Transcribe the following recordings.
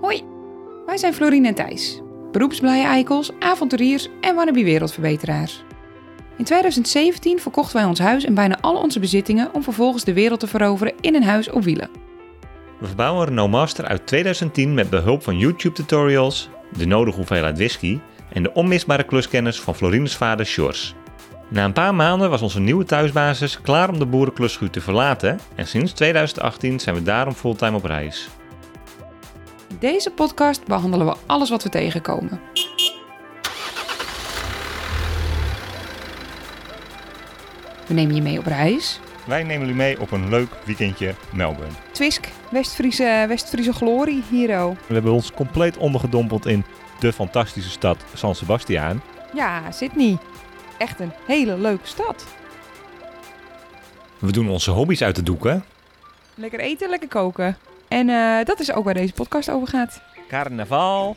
Hoi, wij zijn Florine en Thijs, beroepsblije eikels, avonturiers en wannabe wereldverbeteraars. In 2017 verkochten wij ons huis en bijna al onze bezittingen om vervolgens de wereld te veroveren in een huis op wielen. We verbouwen een Renault Master uit 2010 met behulp van YouTube-tutorials, de nodige hoeveelheid whisky en de onmisbare kluskennis van Florines vader Sjors. Na een paar maanden was onze nieuwe thuisbasis klaar om de boerenklusschuur te verlaten en sinds 2018 zijn we daarom fulltime op reis. In deze podcast behandelen we alles wat we tegenkomen. We nemen je mee op reis. Wij nemen jullie mee op een leuk weekendje Melbourne. Twisk, West-Friese West-Friese glorie, hero. We hebben ons compleet ondergedompeld in de fantastische stad San Sebastian. Ja, Sydney. Echt een hele leuke stad. We doen onze hobby's uit de doeken. Lekker eten, lekker koken. En eh, dat is ook waar deze podcast over gaat. Carnaval.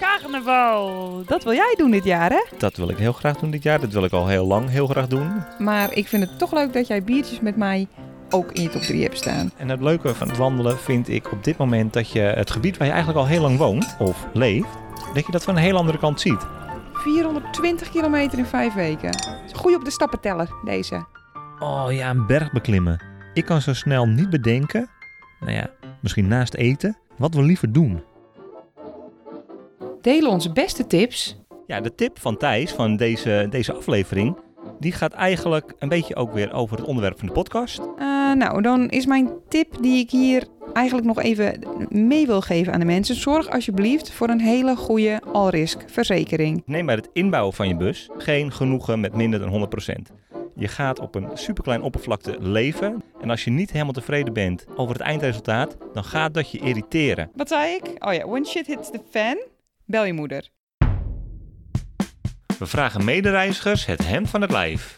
Carnaval, dat wil jij doen dit jaar, hè? Dat wil ik heel graag doen dit jaar. Dat wil ik al heel lang heel graag doen. Maar ik vind het toch leuk dat jij biertjes met mij ook in je top 3 hebt staan. En het leuke van het wandelen vind ik op dit moment dat je het gebied waar je eigenlijk al heel lang woont of leeft, dat je dat van een heel andere kant ziet. 420 kilometer in vijf weken. Dat is een goeie op de stappenteller, deze. Oh ja, een berg beklimmen. Ik kan zo snel niet bedenken, nou ja, misschien naast eten, wat we liever doen. Delen onze beste tips. Ja, de tip van Thijs van deze, deze aflevering, die gaat eigenlijk een beetje ook weer over het onderwerp van de podcast. Eh, nou, dan is mijn tip die ik hier eigenlijk nog even mee wil geven aan de mensen. Zorg alsjeblieft voor een hele goede all-risk verzekering. Neem bij het inbouwen van je bus geen genoegen met minder dan 100%. Je gaat op een superklein oppervlakte leven. En als je niet helemaal tevreden bent over het eindresultaat, dan gaat dat je irriteren. Wat zei ik? Oh ja, when shit hits the fan, bel je moeder. We vragen medereizigers het hemd van het lijf.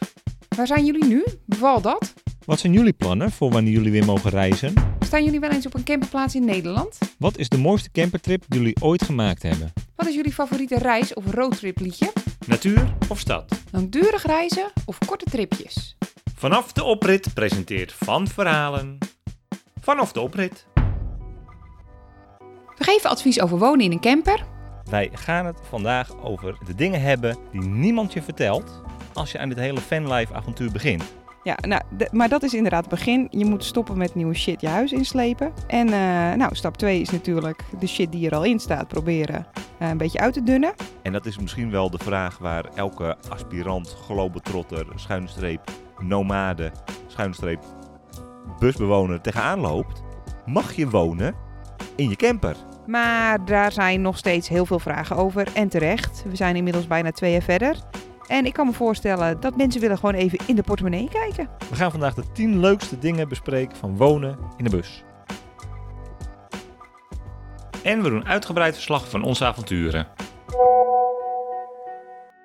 Waar zijn jullie nu? Beval dat? Wat zijn jullie plannen voor wanneer jullie weer mogen reizen? Staan jullie wel eens op een camperplaats in Nederland? Wat is de mooiste campertrip die jullie ooit gemaakt hebben? Wat is jullie favoriete reis- of roadtrip liedje? Natuur of stad? Langdurig reizen of korte tripjes? Vanaf de oprit presenteert Van Verhalen. Vanaf de oprit. We geven advies over wonen in een camper. Wij gaan het vandaag over de dingen hebben die niemand je vertelt als je aan dit hele fanlife avontuur begint. Ja, nou, d- maar dat is inderdaad het begin. Je moet stoppen met nieuwe shit je huis inslepen. En eh, nou, stap 2 is natuurlijk de shit die er al in staat proberen eh, een beetje uit te dunnen. En dat is misschien wel de vraag waar elke aspirant, globetrotter, schuinstreep, nomade, schuinstreep, busbewoner tegenaan loopt. Mag je wonen in je camper? Maar daar zijn nog steeds heel veel vragen over. En terecht. We zijn inmiddels bijna twee jaar verder. En ik kan me voorstellen dat mensen willen gewoon even in de portemonnee kijken. We gaan vandaag de 10 leukste dingen bespreken van wonen in de bus. En we doen uitgebreid verslag van onze avonturen.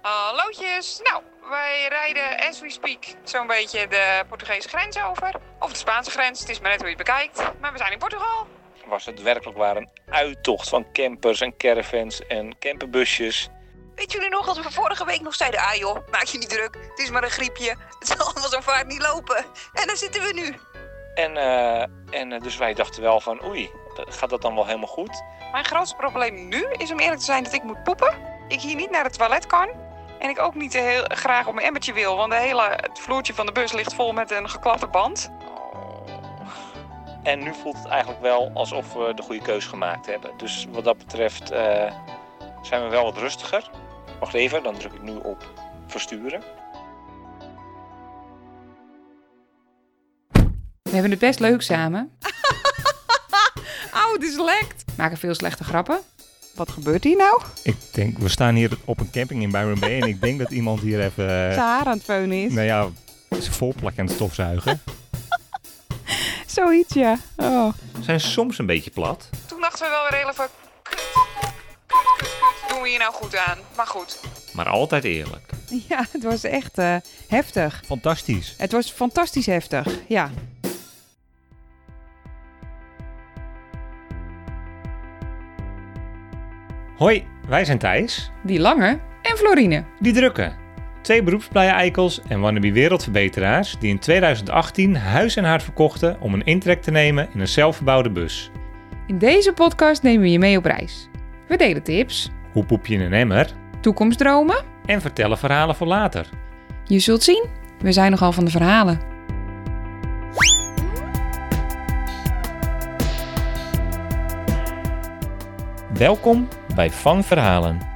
Hallootjes. Nou, wij rijden as we speak zo'n beetje de Portugese grens over. Of de Spaanse grens, het is maar net hoe je het bekijkt. Maar we zijn in Portugal. Was het werkelijk waar een uittocht van campers en caravans en camperbusjes? Weet jullie nog dat we vorige week nog zeiden... Ah joh, maak je niet druk. Het is maar een griepje. Het zal allemaal zo vaart niet lopen. En daar zitten we nu. En, en dus wij dachten wel van oei, gaat dat dan wel helemaal goed? Mijn grootste probleem nu is om eerlijk te zijn dat ik moet poepen. Ik hier niet naar het toilet kan. En ik ook niet heel graag op mijn emmertje wil. Want de hele, het vloertje van de bus ligt vol met een geklapte band. En nu voelt het eigenlijk wel alsof we de goede keus gemaakt hebben. Dus wat dat betreft eh, zijn we wel wat rustiger. Wacht even, dan druk ik nu op versturen. We hebben het best leuk samen. Auw, het is lekt. Maken veel slechte grappen. Wat gebeurt hier nou? Ik denk, we staan hier op een camping in Byron Bay en ik denk dat iemand hier even, eh, Ze haar aan het feunen is. nou ja, zijn volplak aan het stofzuigen. Zoiets, ja. Oh. Zijn soms een beetje plat. Toen dachten we wel weer heel even... Kut, kut, kut, kut. Doen we hier nou goed aan? Maar goed. Maar altijd eerlijk. Ja, het was echt eh, heftig. Fantastisch. Het was fantastisch heftig, ja. Hoi, wij zijn Thijs. Die lange en Florine. Die drukken. Twee beroepsblije eikels en wannabe wereldverbeteraars die in 2018 huis en haard verkochten om een intrek te nemen in een zelfgebouwde bus. In deze podcast nemen we je mee op reis. We delen tips, Hoe poep je in een emmer? toekomstdromen. En vertellen verhalen voor later. Je zult zien, we zijn nogal van de verhalen. Welkom bij Van Verhalen.